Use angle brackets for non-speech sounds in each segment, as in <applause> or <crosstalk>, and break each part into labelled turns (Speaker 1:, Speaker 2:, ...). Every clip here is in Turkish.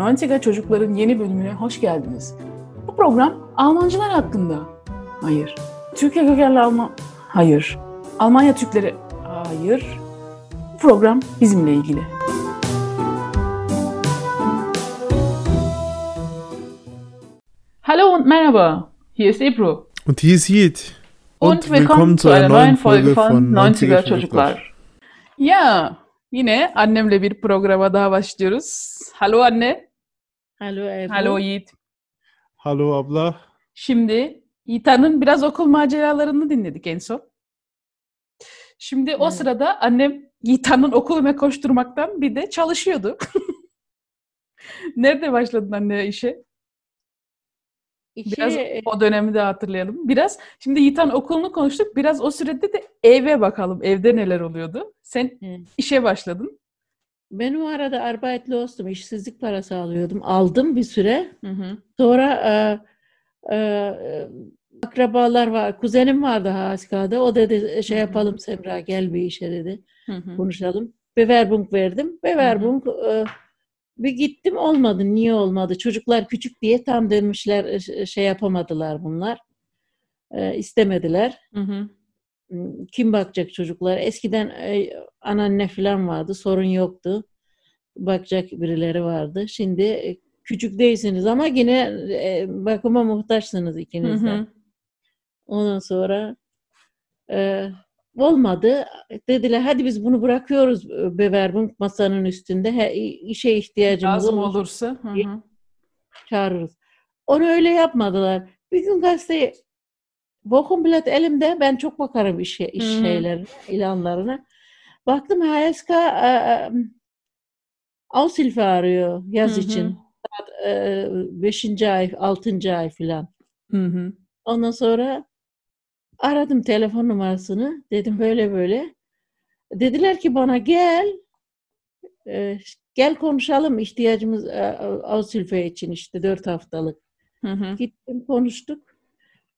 Speaker 1: Antika Çocukların yeni bölümüne hoş geldiniz. Bu program Almancılar hakkında. Hayır. Türkiye kökenli Alman... Hayır. Almanya Türkleri... Hayır. Bu program bizimle ilgili. Hallo und merhaba. Hier ist Ebru.
Speaker 2: Und hier ist Yiğit.
Speaker 1: Und willkommen zu einer neuen Folge von 90er Çocuklar. Ya yine annemle bir programa daha başlıyoruz. Hallo anne.
Speaker 3: Alo e, Ebru.
Speaker 1: Hallo Yiğit.
Speaker 2: Hallo abla.
Speaker 1: Şimdi İtan'ın biraz okul maceralarını dinledik en son. Şimdi o
Speaker 3: Evet.
Speaker 1: sırada annem İtan'ın okuluna koşturmaktan bir de çalışıyordu. <laughs> Nerede başladın anne işe?
Speaker 3: İki,
Speaker 1: Biraz
Speaker 3: e,
Speaker 1: o dönemi de hatırlayalım. Biraz şimdi Yiğitan okulunu konuştuk. Biraz o sürede de eve bakalım. Evde neler oluyordu? Sen
Speaker 3: Evet.
Speaker 1: işe başladın.
Speaker 3: ben o arada arbeitli oldum. işsizlik parası alıyordum. Aldım bir süre. Sonra e, e, e, akrabalar var. Kuzenim vardı Haskada. O dedi şey
Speaker 1: Hı hı.
Speaker 3: yapalım Semra gel bir işe dedi.
Speaker 1: Hı hı.
Speaker 3: Konuşalım. Beverbunk verdim. Beverbunk e, bir gittim olmadı. Niye olmadı? Çocuklar küçük diye tam dönmüşler e, ş- şey yapamadılar bunlar. E, istemediler.
Speaker 1: Hı hı.
Speaker 3: Hmm, kim bakacak çocuklara? Eskiden e, anneanne falan vardı, sorun yoktu. Bakacak birileri vardı. Şimdi e, küçük değilsiniz ama yine e, bakıma muhtaçsınız
Speaker 1: Hı
Speaker 3: ikiniz de.
Speaker 1: hı.
Speaker 3: Ondan sonra e, olmadı. Dediler hadi biz bunu bırakıyoruz e, beverbun masanın üstünde. He, işe ihtiyacımız
Speaker 1: Lazım
Speaker 3: olur
Speaker 1: olursa. Hı hı.
Speaker 3: çağırırız. Onu öyle yapmadılar. Bir gün gazeteyi Bokumblatt elimde ben çok bakarım işe, iş
Speaker 1: Hı hı.
Speaker 3: şeylerine, ilanlarına. Baktım HSK e, e, Aushilfe arıyor yaz
Speaker 1: Hı hı.
Speaker 3: için. Saat, e, Beşinci ay, altıncı ay filan.
Speaker 1: Hı hı.
Speaker 3: Ondan sonra aradım telefon numarasını. Dedim böyle böyle. Dediler ki bana gel. e, gel konuşalım ihtiyacımız e, Ausülfe için işte dört haftalık.
Speaker 1: Hı hı.
Speaker 3: Gittim konuştuk.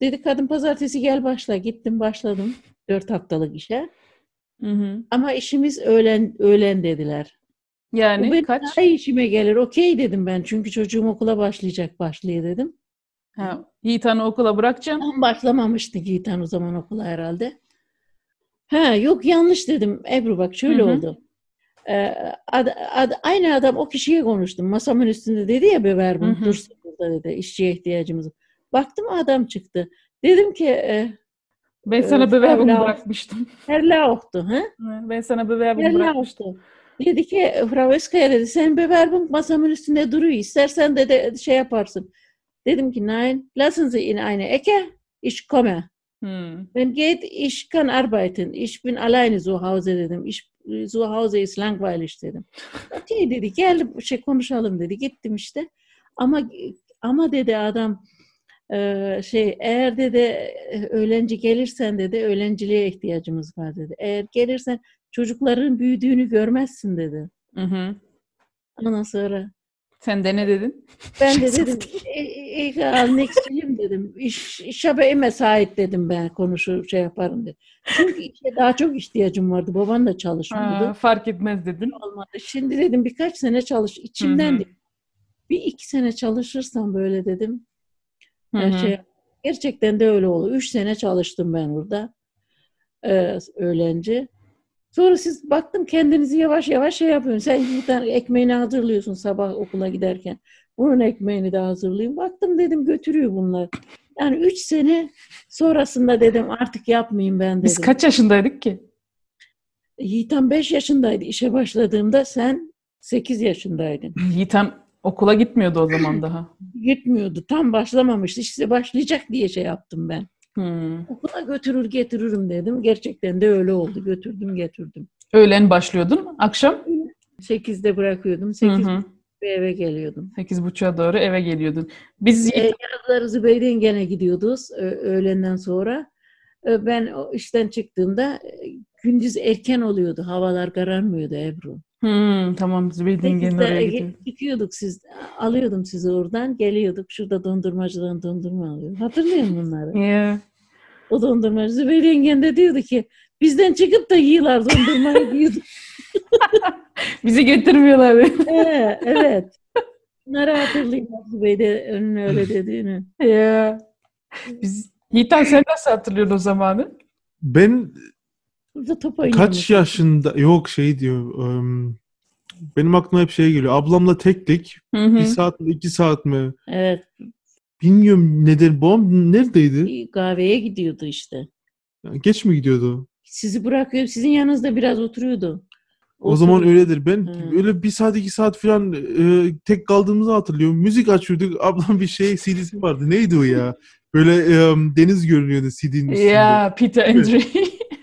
Speaker 3: Dedi kadın pazartesi gel başla. Gittim başladım dört haftalık işe.
Speaker 1: Hı hı.
Speaker 3: Ama işimiz öğlen, öğlen dediler. Bu
Speaker 1: Yani
Speaker 3: benim
Speaker 1: kaç?
Speaker 3: daha iyi işime gelir. Okey dedim ben. Çünkü çocuğum okula başlayacak başlıyor dedim.
Speaker 1: Ha, Yiğitan'ı okula bırakacaksın.
Speaker 3: Tam başlamamıştı Yiğitan o zaman okula herhalde. Ha yok yanlış dedim Ebru bak şöyle
Speaker 1: Hı hı.
Speaker 3: oldu. Ee, ad- ad- aynı adam o kişiye konuştum. Masamın üstünde dedi ya beber
Speaker 1: Hı
Speaker 3: bunu
Speaker 1: hı.
Speaker 3: dursun burada dedi. işçiye ihtiyacımız. var." Baktım adam çıktı. Dedim ki e,
Speaker 1: Ben sana
Speaker 3: Ee,
Speaker 1: bebeğimi
Speaker 3: Fevra-
Speaker 1: bırakmıştım.
Speaker 3: Herla oktu. Ha?
Speaker 1: <laughs> Ben sana bebeğimi
Speaker 3: Herla
Speaker 1: bırakmıştım.
Speaker 3: oktu. Dedi ki Frau Özkaya dedi sen beber bunu masamın üstünde duruyor. İstersen de, de şey yaparsın. Dedim ki nein lassen Sie in eine Ecke ich komme.
Speaker 1: Hı.
Speaker 3: Wenn geht, ich kann arbeiten. Ich bin alleine zu Hause dedim. Ich, zu Hause ist langweilig dedim. Okey dedi gel bir şey konuşalım dedi. Gittim işte. Ama ama dedi adam eee, şey eğer dedi e, öğlenci gelirsen dedi öğlenciliğe ihtiyacımız var dedi. Eğer gelirsen çocukların büyüdüğünü görmezsin dedi.
Speaker 1: Hı hı.
Speaker 3: Ondan sonra
Speaker 1: Sen de ne dedin?
Speaker 3: ben de dedim "E, ilk annexiyim dedim. İş, iş haberime sahip dedim ben konuşur şey yaparım dedim. Çünkü işe daha çok ihtiyacım vardı. Baban da
Speaker 1: Aa,
Speaker 3: çalışmıyordu.
Speaker 1: fark etmez dedin.
Speaker 3: Olmadı. Şimdi dedim birkaç sene çalış. içimden
Speaker 1: Hı hı.
Speaker 3: dedim. Bir iki sene çalışırsam böyle dedim.
Speaker 1: Hı
Speaker 3: Her
Speaker 1: hı.
Speaker 3: şey- gerçekten de öyle oldu. Üç sene çalıştım ben burada. Ee, öğlenci. Sonra siz baktım kendinizi yavaş yavaş şey yapıyorsun. Sen buradan ekmeğini hazırlıyorsun sabah okula giderken. Bunun ekmeğini de hazırlayayım. Baktım dedim götürüyor bunlar. Yani üç sene sonrasında dedim artık yapmayayım ben dedim.
Speaker 1: Biz kaç yaşındaydık ki?
Speaker 3: Yiğitan 5 yaşındaydı işe başladığımda sen 8 yaşındaydın.
Speaker 1: Yiğitan okula gitmiyordu o zaman daha.
Speaker 3: Gitmiyordu tam başlamamıştı. İşte başlayacak diye şey yaptım ben.
Speaker 1: Hı.
Speaker 3: Okula götürür getiririm dedim. Gerçekten de öyle oldu. Götürdüm getirdim.
Speaker 1: Öğlen başlıyordun. Akşam?
Speaker 3: 8'de bırakıyordum.
Speaker 1: Hı
Speaker 3: 8
Speaker 1: hı.
Speaker 3: eve geliyordum.
Speaker 1: Sekiz buçuğa doğru eve geliyordun. Biz
Speaker 3: E, yazları Zübeyde'nin gene gidiyoruz ö- öğlenden sonra. Ö, Ben o işten çıktığımda e, gündüz erken oluyordu. Havalar kararmıyordu Ebru.
Speaker 1: Hı, tamam Zübeyde'nin gelin
Speaker 3: 8'de
Speaker 1: oraya
Speaker 3: ge-
Speaker 1: gidiyor.
Speaker 3: çıkıyorduk siz. Alıyordum sizi oradan. Geliyorduk. Şurada dondurmacıdan dondurma alıyordum. Hatırlıyor musun bunları?
Speaker 1: Yeah.
Speaker 3: O dondurmacı Zübeyde yengen de diyordu ki bizden çıkıp da yiyorlar dondurmayı diyordu.
Speaker 1: Bizi getirmiyorlar.
Speaker 3: Ee, evet. Bunları hatırlayın Nazlı Bey de önün öyle dediğini.
Speaker 1: <laughs> Ya. Biz Yiğitan sen nasıl hatırlıyorsun o zamanı?
Speaker 2: Ben
Speaker 3: Burada top oynamış.
Speaker 2: kaç yaşında yok şey diyor. ım, benim aklıma hep şey geliyor. Ablamla tektik.
Speaker 1: Hı
Speaker 2: Bir
Speaker 1: hı.
Speaker 2: saat mi iki saat mi?
Speaker 3: Evet.
Speaker 2: Bilmiyorum nedir. Babam neredeydi?
Speaker 3: Kahveye gidiyordu işte.
Speaker 2: Yani Geç mi gidiyordu?
Speaker 3: Sizi bırakıyor. Sizin yanınızda biraz oturuyordu.
Speaker 2: O zaman öyledir. Ben
Speaker 3: Hı.
Speaker 2: öyle bir saat iki saat falan e, tek kaldığımızı hatırlıyorum. Müzik açıyorduk. <laughs> Ablam bir şey CD'si vardı. Neydi o ya? Böyle e, deniz görünüyordu CD'nin üstünde.
Speaker 1: Ya Peter Andre.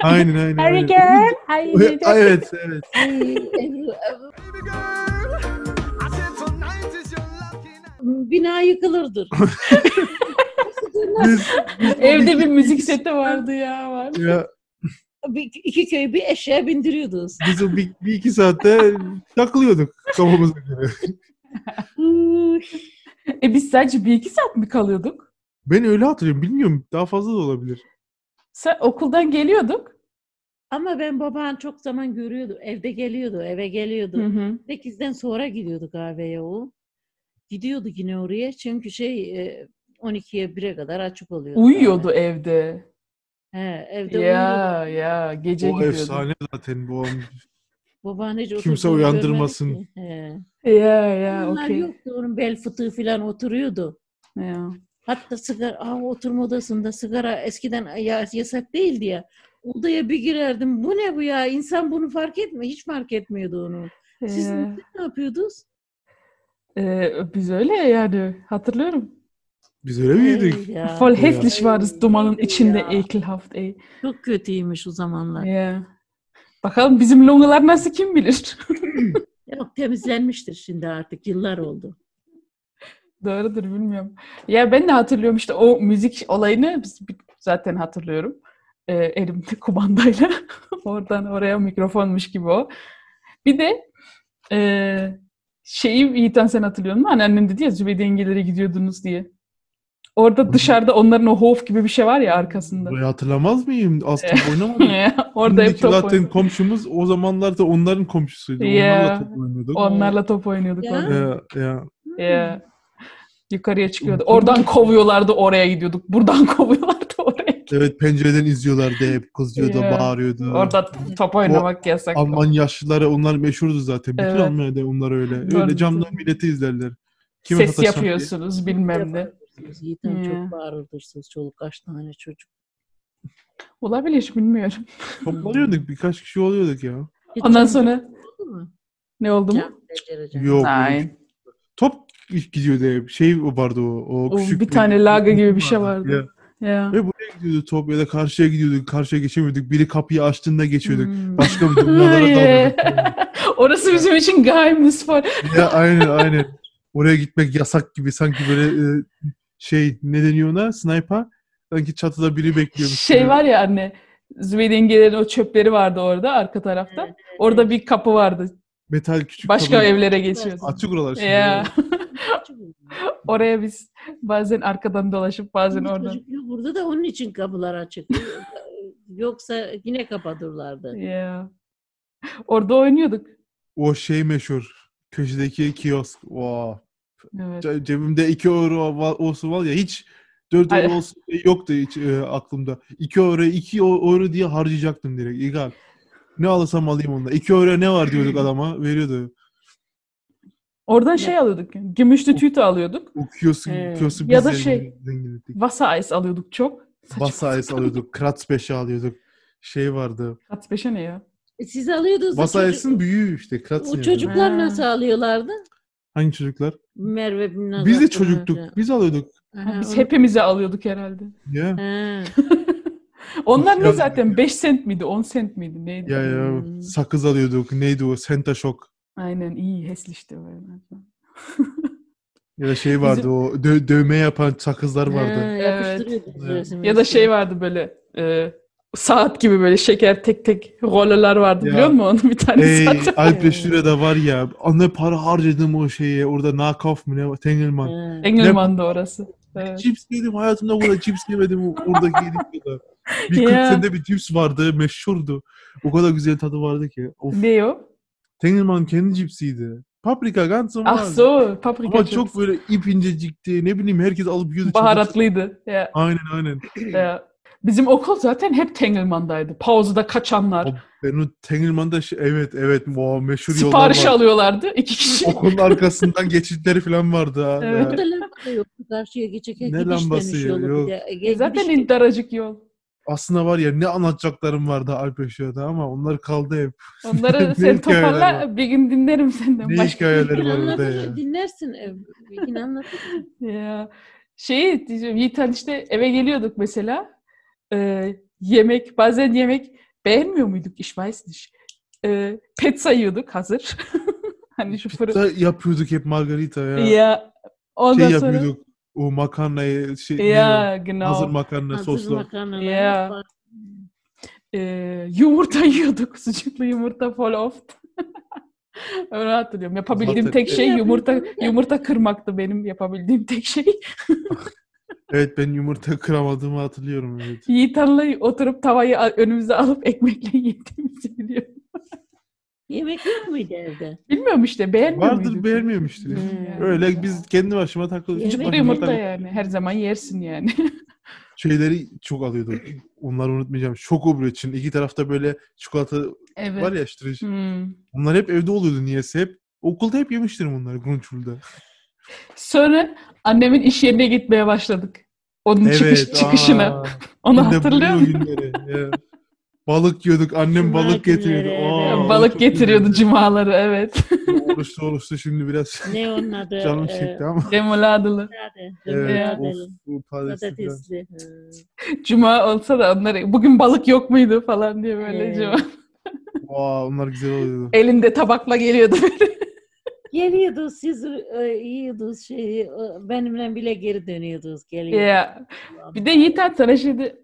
Speaker 2: Aynen aynen.
Speaker 1: Harry
Speaker 2: aynen.
Speaker 1: Gell,
Speaker 2: Ay, evet evet.
Speaker 3: Bina yıkılırdı.
Speaker 2: Biz-
Speaker 1: Evde bir müzik seti vardı ya. Var.
Speaker 2: ya,
Speaker 3: bir, iki köyü bir eşeğe bindiriyordunuz.
Speaker 2: biz o bir, bir iki saatte takılıyorduk kafamıza göre.
Speaker 1: E biz sadece bir iki saat mi kalıyorduk?
Speaker 2: Ben öyle hatırlıyorum. Bilmiyorum. Daha fazla da olabilir.
Speaker 1: Sen okuldan geliyorduk.
Speaker 3: Ama ben baban çok zaman görüyordu. Evde geliyordu, eve geliyordu.
Speaker 1: Hı hı.
Speaker 3: 8'den sonra gidiyordu kahveye o. Gidiyordu yine oraya çünkü şey e, 12'ye 1'e kadar açık oluyordu.
Speaker 1: Uyuyordu evde.
Speaker 3: He, evde uyuyordu.
Speaker 1: Ya ya gece
Speaker 2: O
Speaker 1: gidiyordu.
Speaker 2: efsane zaten bu. an.
Speaker 3: Babaanne hiç
Speaker 2: Kimse
Speaker 3: oturduğunu
Speaker 2: uyandırmasın.
Speaker 3: görmedik ki. He.
Speaker 1: Ya ya
Speaker 3: Bunlar
Speaker 1: okey.
Speaker 3: yoktu onun bel fıtığı falan oturuyordu.
Speaker 1: Ya.
Speaker 3: Hatta sigara, aa, oturma odasında sigara eskiden e, ya, yasak değildi ya. Odaya bir girerdim. Bu ne bu ya? İnsan bunu fark etme. Hiç fark etmiyordu onu. Siz
Speaker 1: Ee,
Speaker 3: ne yapıyordunuz?
Speaker 1: e, biz öyle yani hatırlıyorum.
Speaker 2: Biz öyle mi yedik?
Speaker 3: Ey ya,
Speaker 1: Voll
Speaker 2: Ja.
Speaker 1: hässlich war das dumanın
Speaker 3: Neydi
Speaker 1: içinde
Speaker 3: ya?
Speaker 1: ekelhaft ey.
Speaker 3: Çok kötüymüş o zamanlar.
Speaker 1: Ya. Bakalım bizim longalar nasıl kim bilir.
Speaker 3: Yok temizlenmiştir şimdi artık yıllar oldu.
Speaker 1: Doğrudur bilmiyorum. Ya ben de hatırlıyorum işte o müzik olayını biz bi- zaten hatırlıyorum. Ee, elimde <laughs> kumandayla oradan oraya mikrofonmuş gibi o. Bir de eee şeyi Yiğiten sen hatırlıyor musun? Anneannem dedi ya Zübeyde yengelere gidiyordunuz diye. Orada
Speaker 2: hı.
Speaker 1: dışarıda onların o hof gibi bir şey var ya arkasında. <laughs>
Speaker 2: Burayı hatırlamaz mıyım? Aslında oynamadım.
Speaker 1: Orada hep
Speaker 2: Şimdiki
Speaker 1: top
Speaker 2: zaten
Speaker 1: oynuyorduk.
Speaker 2: komşumuz o zamanlar da onların
Speaker 1: Ya.
Speaker 2: komşusuydu. Onlarla top oynuyorduk.
Speaker 1: Onlarla top oynuyorduk
Speaker 3: Ya.
Speaker 1: orada.
Speaker 2: Ya, ya.
Speaker 1: Ya. Yukarıya çıkıyordu. Oradan kovuyorlardı oraya gidiyorduk. Buradan <laughs> kovuyorlardı oraya.
Speaker 2: Evet pencereden izliyorlardı hep. Kızıyordu,
Speaker 1: Ya.
Speaker 2: bağırıyordu.
Speaker 1: Orada top oynamak yasak.
Speaker 2: Alman yaşlıları onlar meşhurdu zaten. Bütün
Speaker 1: Evet.
Speaker 2: Almanya'da onlar öyle.
Speaker 1: Doğru.
Speaker 2: Öyle camdan milleti izlerler. Kime
Speaker 1: Ses
Speaker 2: sataşsam diye.
Speaker 1: yapıyorsunuz bilmem ne.
Speaker 3: Yiğitem
Speaker 1: Ya.
Speaker 3: çok bağırırdırsınız çoluk kaç tane çocuk.
Speaker 1: Olabilir bilmiyorum.
Speaker 2: Toplanıyorduk birkaç kişi oluyorduk ya.
Speaker 3: Hiç
Speaker 1: Ondan
Speaker 3: çocuk
Speaker 1: sonra
Speaker 3: oldu mu?
Speaker 1: ne oldu mu?
Speaker 3: Can becereceğim.
Speaker 2: Yok.
Speaker 1: Nein.
Speaker 2: Top gidiyordu hep. Şey vardı o. O,
Speaker 1: O
Speaker 2: küçük
Speaker 1: bir tane laga gibi bir şey vardı.
Speaker 2: Ya.
Speaker 1: Ya.
Speaker 2: Ve buraya gidiyordu top ya da karşıya gidiyorduk. Karşıya geçemiyorduk. Biri kapıyı açtığında geçiyorduk.
Speaker 1: Hmm.
Speaker 2: Başka bir
Speaker 1: <laughs>
Speaker 2: dünyalara
Speaker 1: Ay.
Speaker 2: dalıyorduk.
Speaker 1: <laughs> Orası bizim için gayet misfar.
Speaker 2: ya aynen aynen. Oraya gitmek yasak gibi sanki böyle e, şey ne deniyor ona? Sniper. Sanki çatıda biri bekliyormuş.
Speaker 1: Şey
Speaker 2: gibi.
Speaker 1: var ya anne. Zübeyde yengelerin o çöpleri vardı orada arka tarafta. Orada bir kapı vardı.
Speaker 2: Metal küçük
Speaker 1: Başka
Speaker 2: kablo.
Speaker 1: evlere geçiyordu.
Speaker 2: Açık oralar şimdi.
Speaker 1: Ya.
Speaker 3: Çocuk oldu.
Speaker 1: Oraya biz bazen arkadan dolaşıp bazen
Speaker 3: Şimdi
Speaker 1: oradan.
Speaker 3: çocuk yok burada da onun için kapılar açık. Yoksa yine kapatırlardı.
Speaker 1: Ya. Orada oynuyorduk.
Speaker 2: O şey meşhur. Köşedeki kiosk. Wow.
Speaker 1: Evet.
Speaker 2: Ce- Cebimde 2 euro va- olsun var ya hiç 4
Speaker 1: Ay.
Speaker 2: euro olsun diye yoktu hiç e, aklımda. 2 euro 2 euro diye harcayacaktım direkt. İgal. Ne alırsam alayım onda. 2 euro ne var
Speaker 1: Hmm.
Speaker 2: diyorduk adama. Veriyordu.
Speaker 1: Oradan şey alıyorduk. Gümüşlü tüyü alıyorduk.
Speaker 2: O kiyosu,
Speaker 3: He.
Speaker 2: kiyosu biz
Speaker 1: Ee, Ya da
Speaker 2: zengin-
Speaker 1: şey-
Speaker 2: zenginledik.
Speaker 1: Vasa Ice alıyorduk çok.
Speaker 2: Basa ice alıyorduk. Kratz 5'i alıyorduk. Şey vardı.
Speaker 1: Kat beşe ne ya?
Speaker 3: E, Siz alıyordunuz. da
Speaker 2: Basa
Speaker 3: çocuk-
Speaker 2: ice'ın büyüğü işte. Kratz'ın
Speaker 3: O
Speaker 2: yapıyordu.
Speaker 3: çocuklar
Speaker 1: Ha.
Speaker 3: nasıl alıyorlardı?
Speaker 2: Hangi çocuklar?
Speaker 3: Merve bin Nazar
Speaker 2: Biz de
Speaker 3: falan
Speaker 2: çocuktuk.
Speaker 3: filan.
Speaker 2: Biz alıyorduk.
Speaker 3: Aha,
Speaker 1: Biz
Speaker 3: onu-
Speaker 1: hepimize alıyorduk herhalde.
Speaker 2: Ya.
Speaker 3: Ha.
Speaker 1: Onlar ne
Speaker 2: Ya-
Speaker 1: zaten? 5 sent miydi? 10 sent miydi? Neydi?
Speaker 2: Ya ya.
Speaker 3: Hmm.
Speaker 2: Sakız alıyorduk. Neydi o? Senta Shock.
Speaker 1: Aynen iyi heslişti böyle.
Speaker 2: Ya da şey vardı
Speaker 1: Bizim-
Speaker 2: o dö- dövme yapan sakızlar vardı.
Speaker 3: Ha, yapıştırıyorduk
Speaker 2: Evet.
Speaker 3: resim
Speaker 1: Ya da
Speaker 3: resim.
Speaker 1: şey vardı böyle e, saat gibi böyle şeker tek tek rololar vardı
Speaker 2: Ya.
Speaker 1: biliyor musun? <laughs> Onun bir tanesi
Speaker 2: Ey
Speaker 1: Hani zaten.
Speaker 2: Alp Reşire'de var ya ne para harcadım o şeye orada Nakauf mu ne var Tengelman.
Speaker 3: Ha.
Speaker 1: Engelmann'da orası. Evet.
Speaker 2: Cips yedim hayatımda burada cips yemedim orada yedik
Speaker 1: <laughs>
Speaker 2: kadar. Bir 40
Speaker 1: Ya.
Speaker 2: senede bir cips vardı meşhurdu. O kadar güzel tadı vardı ki. Of.
Speaker 1: Ne o?
Speaker 2: Tengelman kendi cipsiydi. Paprika ganz normal.
Speaker 1: Ach Ah, so, paprika
Speaker 2: Ama çok böyle ip incecikti. Ne bileyim herkes alıp yiyordu. çabuk-
Speaker 1: baharatlıydı. Ya,
Speaker 2: Aynen aynen.
Speaker 1: ya. Bizim okul zaten hep Tengelman'daydı. Pauzada kaçanlar.
Speaker 2: Abi, Ben o Tengelman'da şey- evet evet o meşhur yollar
Speaker 1: Sipariş
Speaker 2: var.
Speaker 1: alıyorlardı iki kişi.
Speaker 2: Okulun arkasından geçitleri falan vardı ha.
Speaker 1: Evet.
Speaker 2: Ya,
Speaker 3: Burada lamba da yok. Karşıya geçecek
Speaker 2: Ne
Speaker 3: gidiş
Speaker 2: lambası
Speaker 3: demiş
Speaker 2: ya,
Speaker 3: yolu
Speaker 2: yok.
Speaker 3: bir de. E, Ge-
Speaker 1: E, zaten
Speaker 3: gidiş-
Speaker 1: indaracık yol.
Speaker 2: Aslında var ya ne anlatacaklarım vardı Alp Eşya'da ama onlar kaldı hep.
Speaker 1: Onları
Speaker 2: <laughs> Ne
Speaker 1: sen
Speaker 2: hikayeler
Speaker 1: toparla bir gün dinlerim senden.
Speaker 2: Ne
Speaker 1: başka. şey
Speaker 2: hikayeleri var orada ya.
Speaker 3: Anlatır, dinlersin E, ev. Bir gün anlatır.
Speaker 1: şey Ya. Şeyi diyeceğim Yiğiten işte eve geliyorduk mesela. Ee, yemek bazen yemek beğenmiyor muyduk ich weiß nicht. Ee, pet sayıyorduk hazır. <laughs> hani şu fırın.
Speaker 2: Da yapıyorduk hep margarita ya.
Speaker 1: Ya ondan
Speaker 2: şey
Speaker 1: sonra
Speaker 2: yapıyorduk. O makarnayı şey neydi
Speaker 1: ya
Speaker 2: o? hazır
Speaker 1: genau.
Speaker 2: makarna
Speaker 3: Hazır
Speaker 2: sosla.
Speaker 3: makarnalar.
Speaker 1: Ya.
Speaker 3: var.
Speaker 1: Ee, yumurta <laughs> yiyorduk. Sucuklu yumurta voll oft. <laughs> Öyle hatırlıyorum. Yapabildiğim
Speaker 2: Zaten-
Speaker 1: tek şey
Speaker 3: Ya,
Speaker 1: yumurta
Speaker 3: bilmiyorum ya.
Speaker 1: yumurta kırmaktı benim yapabildiğim tek şey.
Speaker 2: Evet ben yumurta <laughs> kıramadığımı hatırlıyorum evet.
Speaker 1: Yiğitan'la oturup tavayı a- önümüze alıp ekmekle yediğimizi biliyorum.
Speaker 3: Yemek yok muydu evde?
Speaker 1: Bilmiyorum işte beğenmiyor
Speaker 2: Vardır
Speaker 1: muyduk?
Speaker 2: beğenmemiştir.
Speaker 1: Hmm.
Speaker 2: Öyle biz kendi başıma takılıyorduk.
Speaker 1: Cıbır
Speaker 3: Yemek
Speaker 2: başıma
Speaker 1: yumurta
Speaker 2: takılıyorduk.
Speaker 1: yani. Her zaman yersin yani.
Speaker 2: Şeyleri çok alıyordum. Onları unutmayacağım. Şoko böyle için. iki tarafta böyle çikolata
Speaker 1: evet.
Speaker 2: var ya işte.
Speaker 1: Hmm.
Speaker 2: Onlar hep evde oluyordu niyeyse hep. Okulda hep yemiştirim bunları Grunçul'da.
Speaker 1: Sonra annemin iş yerine gitmeye başladık. Onun çıkış, çıkışına. Onu hatırlıyor musun?
Speaker 2: musun? Balık yiyorduk. Annem
Speaker 3: Cuma
Speaker 2: balık getiriyordu.
Speaker 3: günleri,
Speaker 2: Aa,
Speaker 3: evet.
Speaker 2: o
Speaker 1: Balık
Speaker 2: çok
Speaker 1: getiriyordu
Speaker 2: güzeldi.
Speaker 1: cumaları
Speaker 2: <laughs>
Speaker 1: evet.
Speaker 2: Oluştu oluştu şimdi biraz
Speaker 3: Ne onun adı?
Speaker 2: <laughs> canım
Speaker 3: Ee,
Speaker 2: çekti ama.
Speaker 1: Remouladılı.
Speaker 3: nerede?
Speaker 2: Evet.
Speaker 3: Dönüyor
Speaker 2: Of, bu patatesi falan.
Speaker 3: Patatesli.
Speaker 1: Cuma olsa da onları bugün balık yok muydu falan diye böyle
Speaker 3: Evet.
Speaker 1: cuma.
Speaker 2: Vaa, onlar güzel oluyordu.
Speaker 1: Elinde tabakla geliyordu.
Speaker 3: Geliyordunuz siz e, yiyordunuz şeyi. e, Benimle bile geri dönüyordunuz. Geliyordunuz.
Speaker 1: ya. Bir de Yiğiten sana şimdi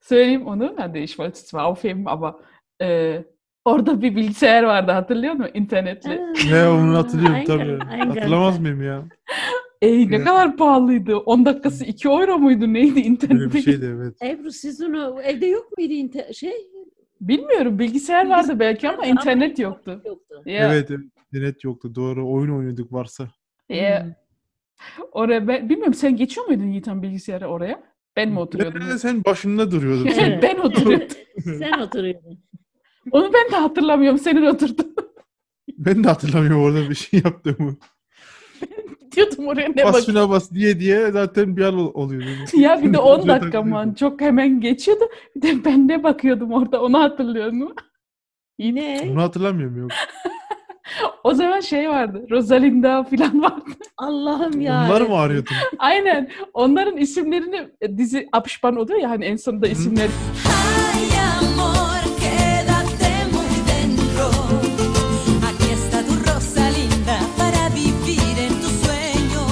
Speaker 1: söyleyeyim onu. Ben de iş var tutma aufheben ama e, orada bir bilgisayar vardı hatırlıyor musun? İnternetli.
Speaker 2: Ne onu hatırlıyorum tabii.
Speaker 3: Aynen,
Speaker 2: Hatırlamaz mıyım ya?
Speaker 1: Ey ne
Speaker 2: Evet.
Speaker 1: kadar pahalıydı. 10 dakikası 2 euro muydu neydi
Speaker 2: Böyle
Speaker 1: internette? <laughs>
Speaker 2: şey. bir şey. şeydi evet.
Speaker 3: Ebru siz onu evde yok muydu inte- şey?
Speaker 1: Bilmiyorum bilgisayar vardı belki ama
Speaker 3: Ama
Speaker 1: internet yoktu.
Speaker 3: Yoktu.
Speaker 1: Ya,
Speaker 2: Evet evet. Net yoktu doğru. Oyun oynuyorduk varsa.
Speaker 1: ya. Oraya ben, bilmiyorum sen geçiyor muydun Yiğiten bilgisayara oraya? Ben mi oturuyordum? <laughs>
Speaker 2: Ee, sen başında duruyordun. sen.
Speaker 1: ben <laughs> oturuyordum.
Speaker 3: Sen oturuyordun.
Speaker 1: Onu ben de hatırlamıyorum. Senin oturdun.
Speaker 2: ben de hatırlamıyorum orada bir şey yaptığımı.
Speaker 1: Diyordum oraya ne
Speaker 2: bas
Speaker 1: bak.
Speaker 2: şuna bas diye diye zaten bir an ol- oluyordu.
Speaker 1: <laughs> <laughs> Ya bir de 10
Speaker 2: Önce
Speaker 1: dakika
Speaker 2: takılıyordum.
Speaker 1: man çok hemen geçiyordu. Bir de ben ne bakıyordum orada onu hatırlıyor musun?
Speaker 3: Yine
Speaker 2: Onu hatırlamıyorum yok.
Speaker 1: O zaman şey vardı. Rosalinda falan <laughs> vardı.
Speaker 3: Allah'ım ya.
Speaker 2: Onlar mı arıyordun?
Speaker 1: Aynen. Onların isimlerini e, dizi apışpan oluyor ya hani en sonunda isimler.
Speaker 4: Ay, amor, quédate muy dentro. Aquí está tu rosa linda para vivir en tu sueño.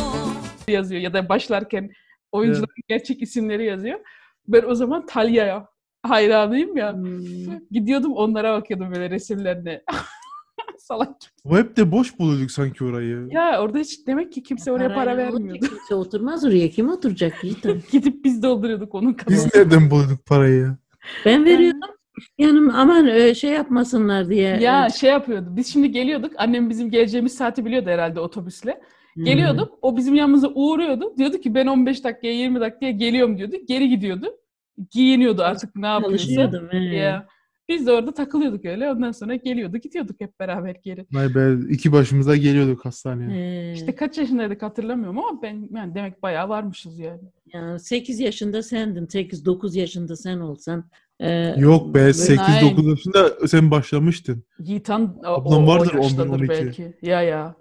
Speaker 1: yazıyor ya da başlarken oyuncuların gerçek isimleri yazıyor. Ben o zaman Talya'ya hayranıyım ya.
Speaker 3: Hmm.
Speaker 1: Gidiyordum onlara bakıyordum böyle resimlerine. <laughs> Salak.
Speaker 2: O hep de boş buluyorduk sanki orayı.
Speaker 1: Ya orada hiç demek ki kimse oraya para
Speaker 3: Parayla olunca
Speaker 1: vermiyordu.
Speaker 3: Kimse oturmaz oraya. Kim oturacak?
Speaker 1: <laughs>
Speaker 3: Yiğitim?
Speaker 1: Gidip biz dolduruyorduk onun kalanını.
Speaker 2: Biz nereden buluyorduk parayı ya?
Speaker 3: Ben veriyordum. Yanım aman e, şey yapmasınlar diye.
Speaker 1: Ya şey yapıyordu. Biz şimdi geliyorduk. Annem bizim geleceğimiz saati biliyordu herhalde otobüsle.
Speaker 3: E, Hmm.
Speaker 1: Geliyorduk. O bizim yanımıza uğruyordu. Diyordu ki ben 15 dakikaya 20 dakikaya geliyorum diyordu. Geri gidiyordu. Giyiniyordu artık ne yapıyorsa.
Speaker 3: Çalışıyordum. he.
Speaker 1: Ya. Biz de orada takılıyorduk öyle. Ondan sonra geliyorduk, gidiyorduk hep beraber geri.
Speaker 2: Vay be iki başımıza geliyorduk hastaneye.
Speaker 3: He.
Speaker 1: İşte kaç yaşındaydık hatırlamıyorum ama ben yani demek bayağı varmışız yani.
Speaker 3: Ya 8 yaşında sendin. 8-9 yaşında sen olsan. e,
Speaker 2: Yok be
Speaker 3: böyle-
Speaker 2: 8-9 yaşında sen başlamıştın.
Speaker 1: Yiğitan o,
Speaker 2: Ablam
Speaker 1: o- o
Speaker 2: vardır 11,
Speaker 1: yaştadır
Speaker 2: 12.
Speaker 1: belki. Ya ya.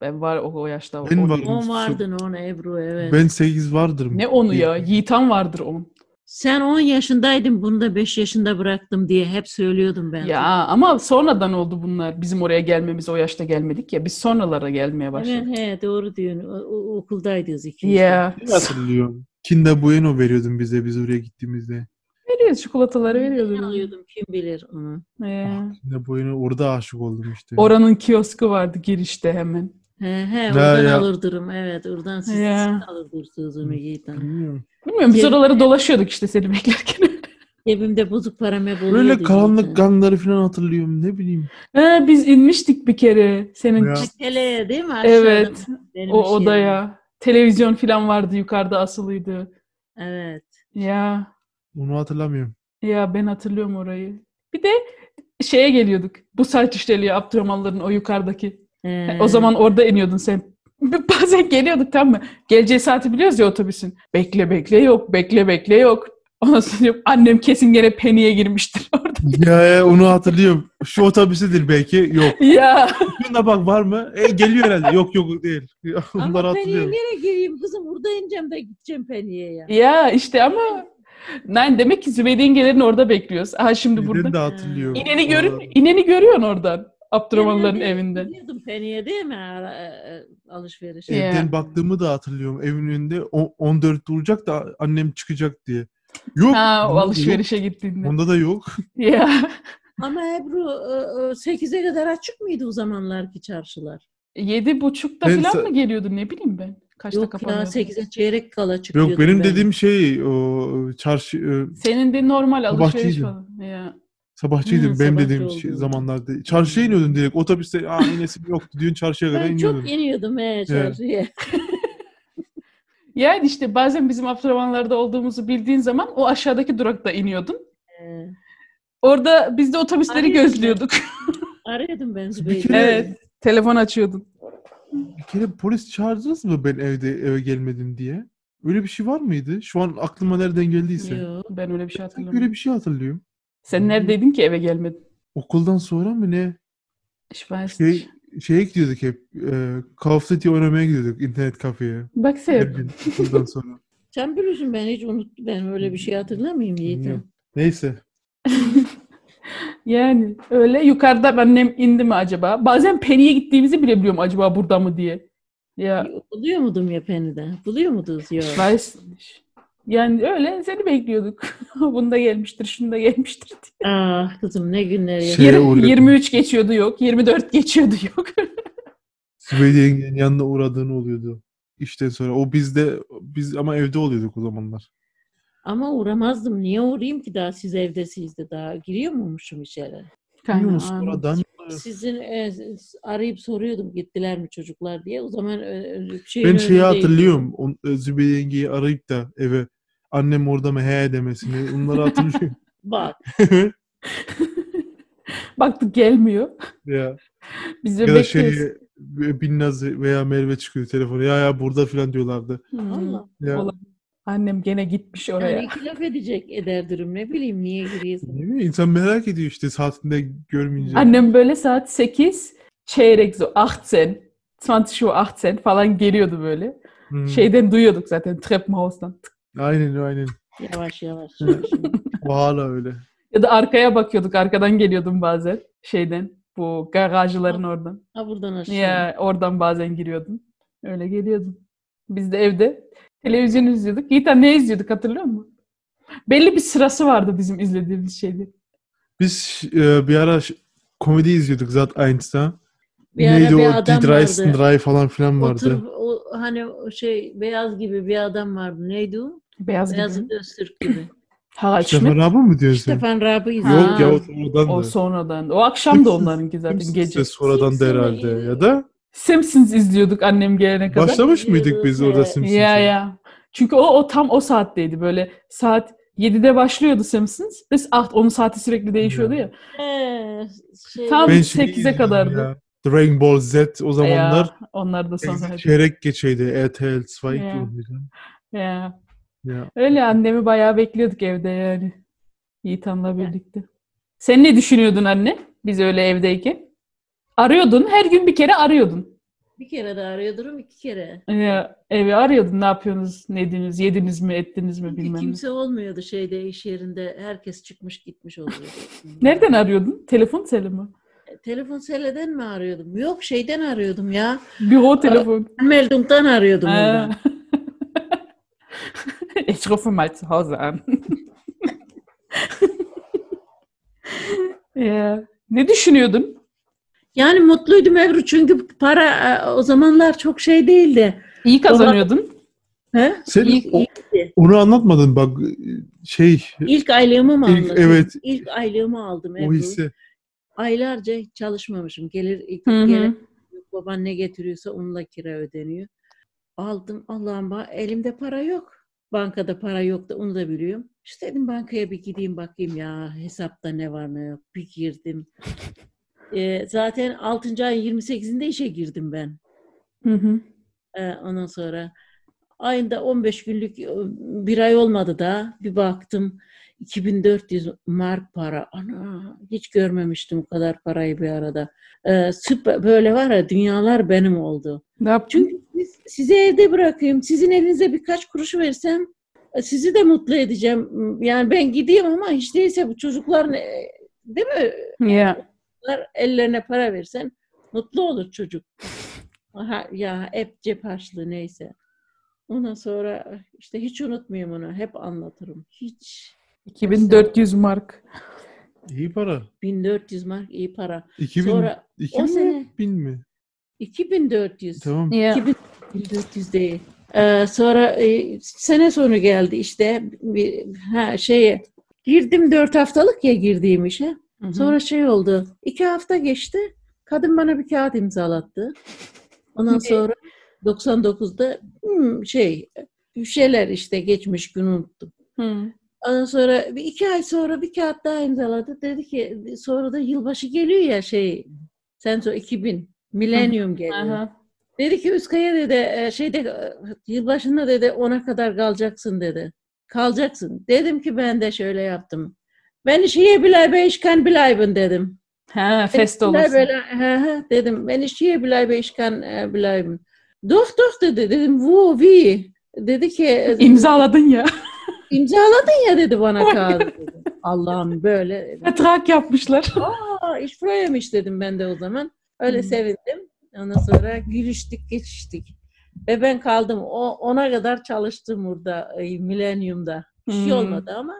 Speaker 1: Ben var o, o yaşta.
Speaker 2: Ben
Speaker 1: O-
Speaker 2: varım.
Speaker 3: On vardın ona Ebru evet.
Speaker 2: Ben 8 vardır mı?
Speaker 1: Ne onu ya? Yiğitan vardır onun.
Speaker 3: Sen 10 yaşındaydın bunu da 5 yaşında bıraktım diye hep söylüyordum ben.
Speaker 1: Ya ama sonradan oldu bunlar. Bizim oraya gelmemiz o yaşta gelmedik ya. Biz sonralara gelmeye başladık.
Speaker 3: Evet he, doğru diyorsun. O- o- Okuldaydınız ikimiz. de.
Speaker 1: Ya.
Speaker 2: Ben hatırlıyorum. Kinder Bueno veriyordun bize biz oraya gittiğimizde.
Speaker 1: Veriyoruz çikolataları
Speaker 3: Ne
Speaker 1: veriyordun.
Speaker 3: alıyordum kim bilir onu.
Speaker 1: Ee,
Speaker 2: Kinder Bueno orada aşık oldum işte.
Speaker 1: oranın kiosku vardı girişte hemen.
Speaker 3: He he oradan
Speaker 2: ya.
Speaker 3: alırdım evet oradan siz,
Speaker 1: Ya.
Speaker 3: siz alırdınız onu Yiğit Hanım.
Speaker 2: Bilmiyorum.
Speaker 1: Bilmiyorum biz
Speaker 3: Gel-
Speaker 1: oraları dolaşıyorduk işte seni <laughs> beklerken.
Speaker 3: Cebimde bozuk para meboluyor.
Speaker 2: Böyle
Speaker 3: diyecektim.
Speaker 2: karanlık ganları falan hatırlıyorum ne bileyim.
Speaker 1: Ha, Ee, biz inmiştik bir kere senin
Speaker 2: Ya.
Speaker 3: Teleye değil mi? Aşağıda
Speaker 1: evet
Speaker 3: benim
Speaker 1: o
Speaker 3: iş yerim.
Speaker 1: odaya. Televizyon falan vardı yukarıda asılıydı.
Speaker 3: Evet.
Speaker 1: Ya
Speaker 2: Onu hatırlamıyorum.
Speaker 1: Ya ben hatırlıyorum orayı. Bir de şeye geliyorduk. Bu saat işleliyor Abdurrahmanların o yukarıdaki.
Speaker 3: Ee,
Speaker 1: O zaman orada iniyordun sen. <laughs> Bazen geliyorduk tamam mı? Geleceği saati biliyoruz ya otobüsün. Bekle bekle yok, bekle bekle yok. Ondan sonra diyorum, annem kesin gene peniye girmiştir <laughs> orada.
Speaker 2: ya ya, onu hatırlıyorum. Şu otobüsedir belki. Yok.
Speaker 1: ya
Speaker 2: Şuna bak var mı? E, geliyor herhalde. Yok yok değil. <laughs> Onları
Speaker 3: <laughs> Ama peniye
Speaker 2: hatırlıyorum.
Speaker 3: nereye gireyim kızım? Burada ineceğim de gideceğim peniye ya.
Speaker 1: ya işte ama Nein, demek ki Zübeyde yengelerin orada bekliyoruz. Aha şimdi
Speaker 2: Neden
Speaker 1: burada.
Speaker 2: de hatırlıyorum.
Speaker 1: İneni görün,
Speaker 2: Aa,
Speaker 1: ineni görüyorsun oradan. Abdurrahmanların
Speaker 3: Nereye
Speaker 1: evinde.
Speaker 3: <laughs> Gidiyordum peniye değil mi? Ara- e, e, Alışverişe.
Speaker 1: Evet.
Speaker 2: Evden baktığımı da hatırlıyorum. Evin önünde o- 14 duracak da annem çıkacak diye. Yok.
Speaker 1: Ha o
Speaker 2: bunda da
Speaker 1: alışverişe
Speaker 2: yok,
Speaker 1: gittiğinde.
Speaker 2: Onda da yok.
Speaker 1: Ya.
Speaker 3: Ama Ebru e, e, 8'e kadar açık mıydı o zamanlarki çarşılar?
Speaker 1: Yedi buçukta
Speaker 2: Ben
Speaker 1: falan
Speaker 2: sa-
Speaker 1: mı geliyordu ne bileyim ben. Kaçta
Speaker 3: Yok ya
Speaker 1: kapanıyordu?
Speaker 3: 8'e çeyrek kala çıkıyordu.
Speaker 2: Yok benim dediğim şey o çarşı e,
Speaker 1: Senin de normal alışveriş
Speaker 2: Sabahçıydı.
Speaker 1: falan. Ya.
Speaker 2: Sabahçıydım
Speaker 3: Hı,
Speaker 2: benim
Speaker 3: sabahçı
Speaker 2: dediğim şey,
Speaker 3: oldun.
Speaker 2: zamanlarda. Çarşıya iniyordun direkt. Otobüste aa inesim yoktu. Dün çarşıya kadar
Speaker 3: Ben
Speaker 2: iniyordun.
Speaker 3: çok iniyordum he çarşıya.
Speaker 1: Yani işte bazen bizim Abdurrahmanlar'da olduğumuzu bildiğin zaman o aşağıdaki durakta iniyordun.
Speaker 3: Ee,
Speaker 1: Orada biz de otobüsleri
Speaker 3: Arıyordun ya.
Speaker 1: gözlüyorduk. <laughs>
Speaker 3: Arıyordum ben
Speaker 2: Bir
Speaker 3: Zübeyir'i.
Speaker 2: kere-
Speaker 1: evet. Telefon açıyordun.
Speaker 2: Bir kere polis çağırdınız mı ben evde eve gelmedim diye? Öyle bir şey var mıydı? Şu an aklıma nereden geldiyse.
Speaker 3: Yok.
Speaker 1: Ben öyle bir şey
Speaker 2: Sanki öyle
Speaker 1: hatırlamıyorum.
Speaker 2: bir şey hatırlıyorum.
Speaker 1: Sen neredeydin ki eve gelmedin?
Speaker 2: Okuldan sonra mı ne?
Speaker 1: Şüphesiz.
Speaker 2: Şey, şeye gidiyorduk hep. E, Call of Duty oynamaya gidiyorduk internet kafeye.
Speaker 1: Bak
Speaker 2: Her
Speaker 1: sen.
Speaker 2: gün okuldan sonra.
Speaker 3: Sen biliyorsun ben hiç unuttum. Ben öyle bir şey hatırlamayayım
Speaker 2: Yok.
Speaker 3: Yiğit'im.
Speaker 2: Neyse.
Speaker 1: Yani öyle yukarıda annem indi mi acaba? Bazen Peni'ye gittiğimizi bile biliyorum acaba burada mı diye. Ya
Speaker 3: Buluyor muydum ya penide? Buluyor muydunuz? Yok.
Speaker 1: Weiß nicht. Yani öyle seni bekliyorduk. <laughs> Bunda gelmiştir, şunda gelmiştir diye.
Speaker 3: Ah kızım ne günler ya.
Speaker 2: Şeye
Speaker 1: Yirmi-
Speaker 2: uğruyordum.
Speaker 1: 23 geçiyordu yok, 24 geçiyordu yok. <laughs>
Speaker 2: Sübeyde yengenin yanına uğradığın oluyordu. İşte sonra. O bizde biz ama evde oluyorduk o zamanlar.
Speaker 3: Ama uğramazdım. Niye uğrayayım ki daha siz evdesizdi daha. Giriyor muymuşum içeri?
Speaker 1: Kanka,
Speaker 2: Yunus oradan
Speaker 3: Sizin e, arayıp soruyordum gittiler mi çocuklar diye. O zaman e, e, şeyin
Speaker 2: Ben şeyi
Speaker 3: önündeydim.
Speaker 2: hatırlıyorum. On, e, Zübeyde yengeyi arayıp da eve annem orada mı he demesini.
Speaker 1: <laughs>
Speaker 2: Onları hatırlıyorum.
Speaker 3: Bak
Speaker 1: Baktık gelmiyor.
Speaker 2: ya.
Speaker 1: Biz de
Speaker 2: ya da şey
Speaker 1: bekliyoruz.
Speaker 2: e, Binnaz veya Merve çıkıyor telefona. Ya ya burada filan diyorlardı.
Speaker 1: Hmm.
Speaker 3: Allah.
Speaker 2: Ya,
Speaker 1: Olabilir. Annem gene gitmiş oraya.
Speaker 3: Yani iki laf edecek eder durum. Ne bileyim niye giriyorsun?
Speaker 2: ne bileyim, insan merak ediyor işte saatinde görmeyince.
Speaker 1: Annem böyle saat 8 çeyrek so 18 20 şu 18 falan geliyordu böyle.
Speaker 2: Hmm,
Speaker 1: Şeyden duyuyorduk zaten Treppenhaus'tan. Tık.
Speaker 2: Aynen öyle, aynen.
Speaker 3: Yavaş yavaş.
Speaker 2: Evet. O hala öyle.
Speaker 1: Ya da arkaya bakıyorduk. Arkadan geliyordum bazen. Şeyden. Bu garajların oradan.
Speaker 3: ha buradan aşağı.
Speaker 1: Ya oradan bazen giriyordun. Öyle geliyordun. Biz de evde televizyon izliyorduk. Yiğiten ne izliyorduk hatırlıyor musun? Belli bir sırası vardı bizim izlediğimiz şeyde.
Speaker 2: Biz e, bir ara ş- komedi izliyorduk Zat Einstein.
Speaker 3: Bir ara
Speaker 2: Neydi
Speaker 3: bir
Speaker 2: o?
Speaker 3: adam
Speaker 2: Die Dreisten
Speaker 3: vardı.
Speaker 2: Drei falan filan vardı.
Speaker 3: Otur, o, hani o şey beyaz gibi bir adam vardı. Neydi o?
Speaker 1: Beyaz
Speaker 3: Beyaz
Speaker 1: gibi.
Speaker 2: <laughs>
Speaker 3: Öztürk gibi.
Speaker 1: Harald Schmidt.
Speaker 2: Stefan Rabba mı diyorsun? sen?
Speaker 3: Stefan Rab'ı izledim.
Speaker 1: Ha.
Speaker 2: Yok ya o sonradan
Speaker 1: O
Speaker 2: da.
Speaker 1: sonradan. O akşam da
Speaker 2: Simpsons-
Speaker 1: onlarınki zaten
Speaker 2: Kimse
Speaker 1: gece.
Speaker 2: sonradan da
Speaker 3: Kimse
Speaker 2: herhalde.
Speaker 3: değil.
Speaker 2: Ya da
Speaker 1: Simpsons izliyorduk annem gelene kadar.
Speaker 2: başlamış mıydık
Speaker 3: izliyoruz,
Speaker 2: biz orada
Speaker 3: evet.
Speaker 2: Simpsons'a?
Speaker 1: Ya ya. Çünkü o, o tam o saatteydi böyle. Saat 7'de başlıyordu Simpsons. Biz ah onun saati sürekli değişiyordu ya.
Speaker 3: Ee, şey,
Speaker 1: Tam
Speaker 2: Ben şeyi
Speaker 1: 8'e
Speaker 2: izliyordum
Speaker 1: kadardı.
Speaker 2: ya. Dragon Ball Z o zamanlar
Speaker 1: Ya, onlar şey- da sonra.
Speaker 2: çeyrek geçeydi. RTL 2
Speaker 1: Ya.
Speaker 2: oluyordu.
Speaker 1: Ya.
Speaker 2: Ya.
Speaker 1: Öyle annemi bayağı bekliyorduk evde yani. Yiğitan'la birlikte. Sen ne düşünüyordun anne? Biz öyle evdeyken. Arıyordun. Her gün bir kere arıyordun.
Speaker 3: bir kere de arıyordurum iki kere.
Speaker 1: Ee, evi arıyordun. Ne yapıyorsunuz? Ne yediniz? Yediniz mi? Ettiniz mi?
Speaker 3: Çünkü
Speaker 1: Bilmem ne.
Speaker 3: kimse olmuyordu şeyde iş yerinde. Herkes çıkmış gitmiş oluyordu.
Speaker 1: Nereden arıyordun? Telefon seli mi?
Speaker 3: E, Telefon seleden mi arıyordum? Yok şeyden arıyordum ya.
Speaker 1: Büro telefon.
Speaker 3: Meldum'dan arıyordum
Speaker 1: Ee.
Speaker 3: ondan.
Speaker 1: <laughs> Ich rufe mal zu Hause an. <laughs> Ya, Ne düşünüyordun?
Speaker 3: Yani mutluydum Ebru çünkü para e, o zamanlar çok şey değildi.
Speaker 1: İyi kazanıyordun.
Speaker 3: He?
Speaker 2: Sen
Speaker 3: İlk,
Speaker 2: o-
Speaker 3: ilkti.
Speaker 2: onu anlatmadın bak şey
Speaker 3: İlk aylığımı mı
Speaker 2: İlk-
Speaker 3: anladın?
Speaker 2: evet.
Speaker 3: İlk aylığımı aldım.
Speaker 2: o
Speaker 3: Ebru.
Speaker 2: hisse.
Speaker 3: Aylarca hiç çalışmamışım. Gelir,
Speaker 1: Hı
Speaker 3: gelir
Speaker 1: hı.
Speaker 3: Yok, Baban ne getiriyorsa onunla kira ödeniyor. Aldım Allah'ım ba- elimde para yok. Bankada para yok da onu da biliyorum. İşte dedim bankaya bir gideyim bakayım ya hesapta ne var ne yok. Bir
Speaker 1: <laughs>
Speaker 3: girdim. Ee, zaten 6. ayın 28'inde işe girdim ben.
Speaker 1: Hı hı.
Speaker 3: Ee, ondan sonra ayında 15 günlük e, bir ay olmadı da bir baktım 2400 mark para. Ana hiç görmemiştim bu kadar parayı bir arada. Ee, süper böyle var ya dünyalar benim oldu.
Speaker 1: Ne yaptın?
Speaker 3: Çünkü siz- sizi evde bırakayım. Sizin elinize birkaç kuruş versem e, sizi de mutlu edeceğim. Yani ben gideyim ama hiç değilse bu çocukların e, değil mi?
Speaker 1: Ya.
Speaker 3: Bunlar ellerine para versen mutlu olur çocuk. Aha, ya hep cep harçlığı neyse. Ondan sonra işte hiç unutmuyorum onu. Hep anlatırım. Hiç.
Speaker 1: 2400 mark.
Speaker 2: İyi para.
Speaker 3: 1400 mark iyi para.
Speaker 2: 2000,
Speaker 3: Sonra
Speaker 2: 2000
Speaker 3: o
Speaker 2: mi?
Speaker 3: sene-
Speaker 2: 1000 mi?
Speaker 3: 2400.
Speaker 2: Tamam.
Speaker 1: Ya.
Speaker 3: 2400 değil. Ee, sonra e, sene sonu geldi işte. Bir, ha, şeye, girdim 4 haftalık ya girdiğim işe.
Speaker 1: Hı hı.
Speaker 3: Sonra şey oldu. iki hafta geçti. Kadın bana bir kağıt imzalattı.
Speaker 1: <laughs>
Speaker 3: Ondan sonra 99'da hmm, şey bir şeyler işte geçmiş günü unuttum.
Speaker 1: Hı.
Speaker 3: Ondan sonra bir iki ay sonra bir kağıt daha imzaladı. Dedi ki sonra da yılbaşı geliyor ya şey sen sonra 2000 milenyum geliyor.
Speaker 1: Aha.
Speaker 3: Dedi ki Üskaya dedi e, şeyde e, yılbaşında dedi ona kadar kalacaksın dedi. Kalacaksın. Dedim ki ben de şöyle yaptım. Ben şiye bilay be işkan bilaybın dedim.
Speaker 1: Ha, fest
Speaker 3: Bilay
Speaker 1: olursun.
Speaker 3: bela- he he dedim. Ben şiye bilay be işkan e, bilaybın. Doh doh dedi. Dedim vu vi. Dedi
Speaker 1: <laughs>
Speaker 3: ki e,
Speaker 1: İmzaladın ya.
Speaker 3: imzaladın ya dedi bana kağıdı. dedi. Allah'ım böyle. dedim.
Speaker 1: Trak yapmışlar.
Speaker 3: Aa, iş buraymış dedim ben de o zaman. Öyle
Speaker 1: Hmm.
Speaker 3: sevindim. Ondan sonra gülüştük, geçiştik. Ve ben kaldım. O, ona kadar çalıştım burada, e, milenyumda. Bir şey
Speaker 1: Hmm.
Speaker 3: olmadı ama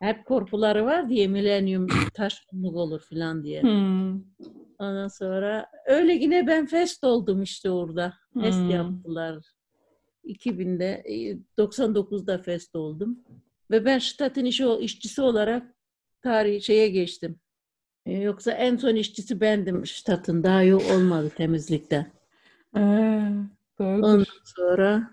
Speaker 3: hep korkuları var diye milenyum taşkınlık olur falan diye.
Speaker 1: Hı.
Speaker 3: Ondan sonra öyle yine ben fest oldum işte orada. Fest
Speaker 1: Hmm.
Speaker 3: yaptılar. 2000'de, e, 99'da fest oldum. Ve ben Stad'ın işi, işçisi olarak tarihi şeye geçtim. E, Yoksa en son işçisi bendim Stad'ın. Daha yok olmadı temizlikte.
Speaker 1: Ee,
Speaker 3: Ondan
Speaker 1: doğrudur.
Speaker 3: sonra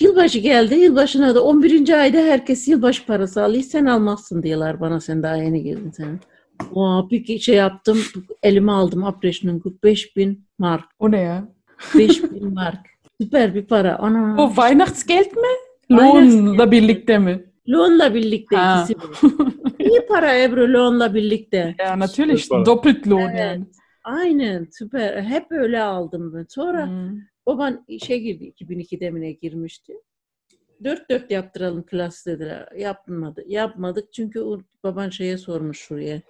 Speaker 3: yılbaşı geldi. Yılbaşına da 11. ayda herkes yılbaşı parası alıyor. Sen almazsın diyorlar bana. Sen daha yeni girdin sen. Oha, bir ki- şey yaptım. Elime aldım Apreş'in 5000 mark.
Speaker 1: O ne ya?
Speaker 3: 5000 mark. Süper bir para. Ana.
Speaker 1: O Weihnachtsgeld mi?
Speaker 3: Weihnachtsgeld.
Speaker 1: Loanla birlikte mi?
Speaker 3: Loanla birlikte
Speaker 1: Ha.
Speaker 3: ikisi bir. İyi para Ebru loanla birlikte.
Speaker 1: Ja, natürlich.
Speaker 2: Süper.
Speaker 1: Doppelt Lohn
Speaker 3: Evet.
Speaker 1: yani.
Speaker 3: Aynen süper. Hep öyle aldım ben. Sonra
Speaker 1: Hı.
Speaker 3: baban işe girdi. 2002'de mi ne girmişti. Dört dört yaptıralım klas dediler. Yapmadı. Yapmadık çünkü o baban şeye sormuş şuraya.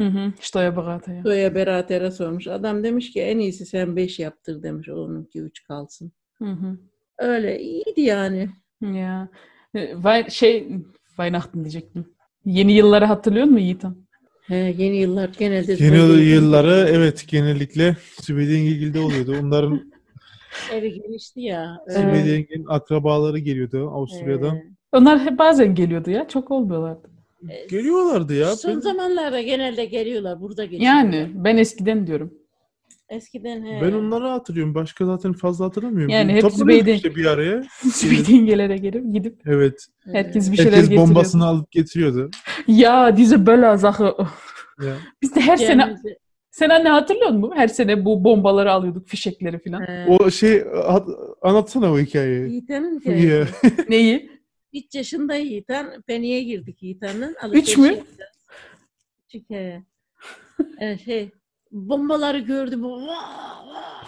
Speaker 1: Hı hı. Steuerberater ya.
Speaker 3: Soya Berater'e sormuş. Adam demiş ki en iyisi sen beş yaptır demiş. Onunki üç kalsın.
Speaker 1: Hı hı.
Speaker 3: Öyle iyiydi yani.
Speaker 1: Ya. Ee, Wei- şey Weihnachten diyecektim. Yeni yılları hatırlıyor musun Yiğitan?
Speaker 3: He, yeni yıllar genelde...
Speaker 2: Genel yılları evet genellikle Zübeyde Yengil'de oluyordu. Onların
Speaker 3: Evi genişti ya. öyle.
Speaker 1: Evet.
Speaker 2: Zübeyde Yenge'nin akrabaları geliyordu Avusturya'dan.
Speaker 1: Onlar hep bazen geliyordu ya. Çok olmuyorlardı.
Speaker 3: Ee,
Speaker 2: Geliyorlardı ya.
Speaker 3: Son
Speaker 2: Ben-
Speaker 3: zamanlarda genelde geliyorlar. Burada geçiyorlar.
Speaker 1: Yani ben eskiden diyorum. <laughs>
Speaker 3: Eskiden he.
Speaker 2: Ben onları hatırlıyorum. Başka zaten fazla hatırlamıyorum.
Speaker 1: Yani hep
Speaker 2: Toplanıyorduk
Speaker 1: Zübeyde-
Speaker 2: işte bir araya.
Speaker 1: Zübeyde yengelere gelip gidip
Speaker 2: Evet.
Speaker 1: herkes bir şeyler
Speaker 2: Herkes
Speaker 1: getiriyor.
Speaker 2: bombasını alıp getiriyordu.
Speaker 1: Ya diese Böller Sache.
Speaker 2: Ya.
Speaker 1: Biz de her sene
Speaker 3: Cemimizi-
Speaker 1: sen anne hatırlıyor musun? Her sene bu bombaları alıyorduk, fişekleri falan.
Speaker 3: He.
Speaker 2: O şey hat- anlatsana o
Speaker 3: Ee,
Speaker 2: hikayeyi.
Speaker 3: Yiğiten'in
Speaker 2: Ya.
Speaker 3: hikayesi.
Speaker 1: Neyi?
Speaker 3: Üç yaşında Yiğiten. Peniye girdik Yiğiten'den.
Speaker 1: Üç mü?
Speaker 2: <laughs>
Speaker 3: Küçük he. Ee, şey, bombaları gördüm. Vaa, vaa.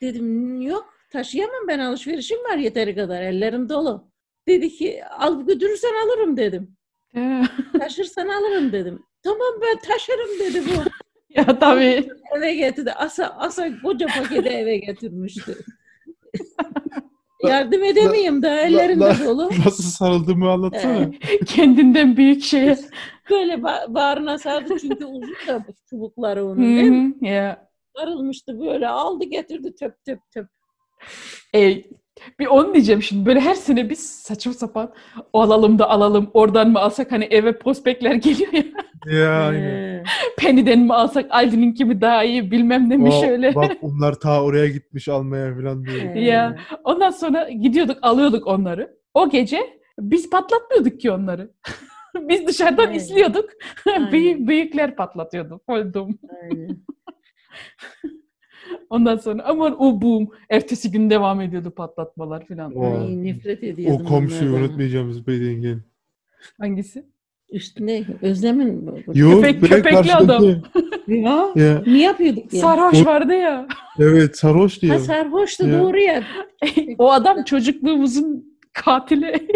Speaker 3: Dedim yok taşıyamam ben alışverişim var yeteri kadar. Ellerim dolu. Dedi ki al götürürsen
Speaker 2: <laughs>
Speaker 3: alırım dedim. Taşırsan alırım dedim. Tamam ben taşırım dedi bu.
Speaker 1: ya tabii.
Speaker 3: eve getirdi. Asa, asa koca paketi eve
Speaker 2: <laughs>
Speaker 3: getirmişti. Yardım edemeyim daha ellerim
Speaker 2: la-
Speaker 3: de dolu.
Speaker 2: <laughs> Nasıl sarıldığımı anlatsana.
Speaker 1: Kendinden büyük şeye.
Speaker 3: Böyle ba- bağrına sardı çünkü uzun da bu çubukları onun. değil mi?
Speaker 1: Hı-hı. Ya.
Speaker 3: Sarılmıştı böyle aldı getirdi töp töp töp.
Speaker 1: E, Bir onu diyeceğim şimdi. Böyle her sene biz saçma sapan o alalım da alalım. Oradan mı alsak hani eve prospektler <laughs> geliyor ya.
Speaker 2: Ya aynen.
Speaker 3: Ee,
Speaker 1: Penny'den mi alsak Aldi'ninki mi daha iyi bilmem ne mi
Speaker 2: Vay,
Speaker 1: şöyle.
Speaker 2: Bak onlar ta oraya gitmiş almaya falan diyor.
Speaker 3: ee,
Speaker 1: Ya. Ondan sonra gidiyorduk alıyorduk onları. O gece biz patlatmıyorduk ki onları. <laughs> biz dışarıdan
Speaker 3: Aynen.
Speaker 1: izliyorduk. <laughs>
Speaker 3: Aynen.
Speaker 1: Büyük, büyükler patlatıyordu. Oldum.
Speaker 3: aynen.
Speaker 1: Ondan sonra aman o boom. Ertesi gün devam ediyordu patlatmalar falan.
Speaker 2: O-
Speaker 3: Ay, nefret ediyordum.
Speaker 2: O komşuyu
Speaker 3: onlardan.
Speaker 2: unutmayacağımız bey yengen.
Speaker 1: Hangisi?
Speaker 3: Üstüne Özlem'in mi? bu?
Speaker 2: Yo,
Speaker 1: Köpek-
Speaker 2: böyle
Speaker 1: köpekli
Speaker 2: karşılıklı.
Speaker 1: adam.
Speaker 3: Ya.
Speaker 2: Ya,
Speaker 3: Ne yapıyorduk ya?
Speaker 1: Sarhoş
Speaker 2: O-
Speaker 1: vardı ya.
Speaker 2: evet sarhoş diyor.
Speaker 3: Ha, sarhoştu
Speaker 2: Ya.
Speaker 3: doğru ya.
Speaker 1: o adam çocukluğumuzun
Speaker 2: <laughs>
Speaker 1: katili.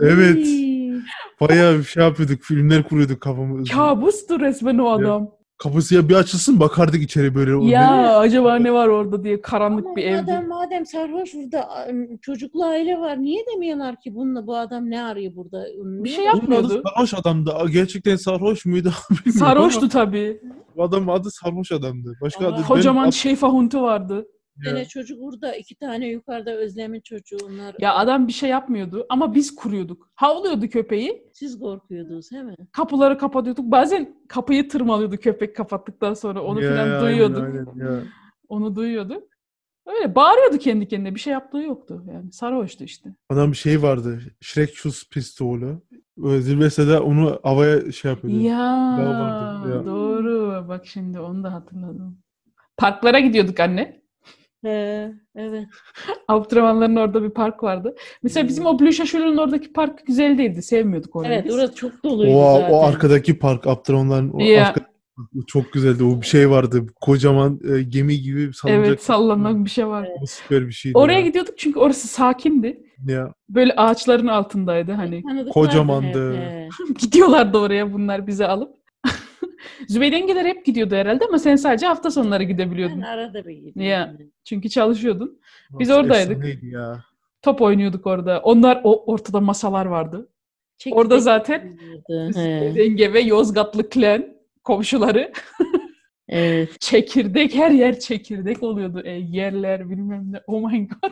Speaker 2: Evet.
Speaker 3: Ay.
Speaker 2: Bayağı bir şey yapıyorduk. Filmler kuruyorduk kafamızda.
Speaker 1: Kabustu resmen o adam.
Speaker 2: Kapısı bir açılsın bakardık içeri böyle.
Speaker 1: Ya acaba ne var orada diye karanlık
Speaker 3: Ama
Speaker 1: bir
Speaker 3: bu
Speaker 1: evdi.
Speaker 3: adam madem sarhoş burada a- çocuklu aile var niye demiyorlar ki bununla bu adam ne arıyor burada?
Speaker 1: Bir şey
Speaker 2: Onun adı
Speaker 1: yapmıyordu.
Speaker 2: sarhoş adamdı. Gerçekten sarhoş muydu? <laughs> bilmiyorum
Speaker 1: Sarhoştu tabii.
Speaker 2: ama Adamın adı sarhoş adamdı. Başka
Speaker 3: Ama
Speaker 2: adı
Speaker 1: Kocaman şeyfa huntu vardı.
Speaker 3: Bir tane çocuk burada, iki tane yukarıda Özlem'in çocuğu onlar.
Speaker 1: Ya adam bir şey yapmıyordu ama biz kuruyorduk. Havlıyordu köpeği.
Speaker 3: Siz korkuyordunuz değil mi?
Speaker 1: Kapıları kapatıyorduk. Bazen kapıyı tırmalıyordu köpek kapattıktan sonra. Onu falan duyuyorduk. Onu duyuyorduk. Öyle bağırıyordu kendi kendine. Bir şey yaptığı yoktu. Yani sarhoştu işte.
Speaker 2: Adam bir şey vardı. Shrek Chus pistolü. Böyle Zilvestre de onu havaya şey yapıyordu.
Speaker 1: Ya,
Speaker 2: vardı, ya.
Speaker 1: doğru. Bak şimdi onu da hatırladım. Parklara gidiyorduk anne.
Speaker 3: He, evet.
Speaker 1: Abdurrahmanların orada bir park vardı.
Speaker 2: Hmm.
Speaker 1: Mesela bizim o Blue Şaşırı'nın oradaki park güzel değildi. Sevmiyorduk orayı
Speaker 3: Evet,
Speaker 1: biz.
Speaker 3: orası çok doluydu
Speaker 2: O,
Speaker 3: zaten.
Speaker 2: o arkadaki park Abdurrahman'ın o
Speaker 1: Ya.
Speaker 2: arka- çok güzeldi. O bir şey vardı. Kocaman e, gemi gibi salınacak.
Speaker 1: Evet
Speaker 2: Hmm.
Speaker 1: sallanan bir şey vardı.
Speaker 2: O süper bir şeydi.
Speaker 1: Oraya
Speaker 2: ya.
Speaker 1: gidiyorduk çünkü orası sakindi.
Speaker 2: Ya.
Speaker 1: Böyle ağaçların altındaydı hani.
Speaker 3: <laughs> Tanıdıklardı
Speaker 2: kocamandı.
Speaker 3: hep, he.
Speaker 1: Gidiyorlardı oraya bunlar bizi alıp. <laughs> Zübeydengiler hep gidiyordu herhalde ama sen sadece hafta sonları
Speaker 3: Ben
Speaker 1: gidebiliyordun.
Speaker 3: arada bir gidiyordum.
Speaker 1: Ya. Çünkü çalışıyordun. Biz
Speaker 2: Nasıl
Speaker 1: oradaydık.
Speaker 2: efsaneydi ya.
Speaker 1: Top oynuyorduk orada. Onlar o ortada masalar vardı.
Speaker 3: Çekik
Speaker 1: Orada
Speaker 3: çekik
Speaker 1: zaten- <laughs>
Speaker 3: gidiyordu, he.
Speaker 1: Zübeydenge ve Yozgatlı klan komşuları.
Speaker 3: Evet.
Speaker 1: Çekirdek her yer çekirdek oluyordu. E, yerler bilmem ne. Oh my god.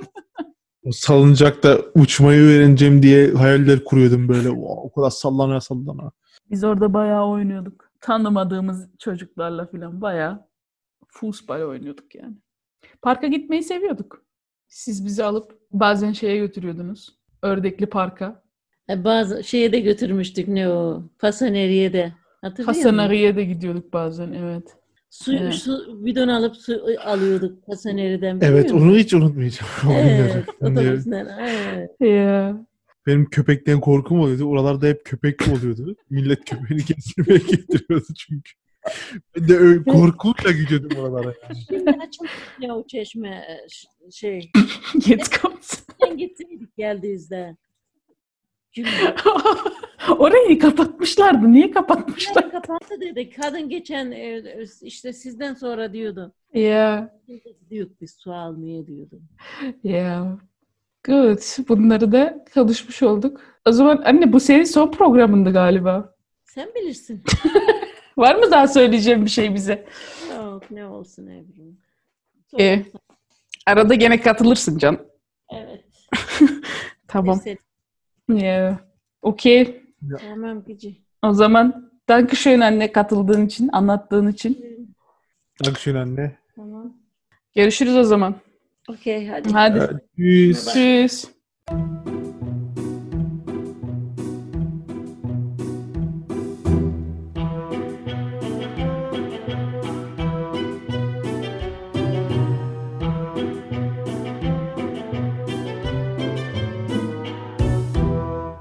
Speaker 2: O salıncakta uçmayı öğreneceğim diye hayaller kuruyordum böyle. Wow, o kadar sallana sallana.
Speaker 1: Biz orada bayağı oynuyorduk. Tanımadığımız çocuklarla falan bayağı futbol oynuyorduk yani. Parka gitmeyi seviyorduk. Siz bizi alıp bazen şeye götürüyordunuz. Ördekli parka.
Speaker 3: E, Bazı şeye de götürmüştük ne o? Fasaneriye de. Hatırlıyor
Speaker 1: Hasan
Speaker 3: musun?
Speaker 1: Ağa'ya da gidiyorduk bazen evet.
Speaker 3: Su,
Speaker 1: Evet.
Speaker 3: su bidon alıp su alıyorduk Fasaneri'den. biliyor
Speaker 2: Evet
Speaker 3: musun?
Speaker 2: onu hiç unutmayacağım. <laughs> O günleri.
Speaker 3: Evet,
Speaker 2: Ben de-
Speaker 3: otobüsten. Evet.
Speaker 1: <laughs> Ya.
Speaker 2: Benim köpekten korkum oluyordu. Oralarda hep köpek oluyordu. Millet köpeğini kestirmeye <laughs> getiriyordu çünkü. Ben de öyle korkuyla gidiyordum oralara.
Speaker 3: Şimdi açıldı ya o çeşme e, ş- şey.
Speaker 1: Yet comes.
Speaker 3: Sen gitseydik geldiğinizde. Şimdi
Speaker 1: <laughs> Orayı kapatmışlardı. Niye kapatmışlar?
Speaker 3: yani kapandı dedi. Kadın geçen e, e, işte sizden sonra diyordu.
Speaker 1: Ya.
Speaker 3: Diyor biz su almaya diyordu.
Speaker 1: Ya. Good. Bunları da konuşmuş olduk. O zaman anne bu senin son programındı galiba.
Speaker 3: Sen bilirsin.
Speaker 1: Var mı daha söyleyeceğim bir şey bize?
Speaker 3: Yok ne olsun Ebru.
Speaker 1: Ee, arada gene katılırsın can.
Speaker 3: Evet.
Speaker 1: Tamam.
Speaker 3: Neyse,
Speaker 1: Yeah. Okey.
Speaker 3: Tamam gıcı.
Speaker 1: O zaman Dankeschön anne katıldığın için, anlattığın için.
Speaker 2: Akşun anne.
Speaker 3: Tamam.
Speaker 1: Görüşürüz o zaman.
Speaker 3: Okey hadi.
Speaker 1: Hadi.
Speaker 2: Yüz.
Speaker 1: Tschüss.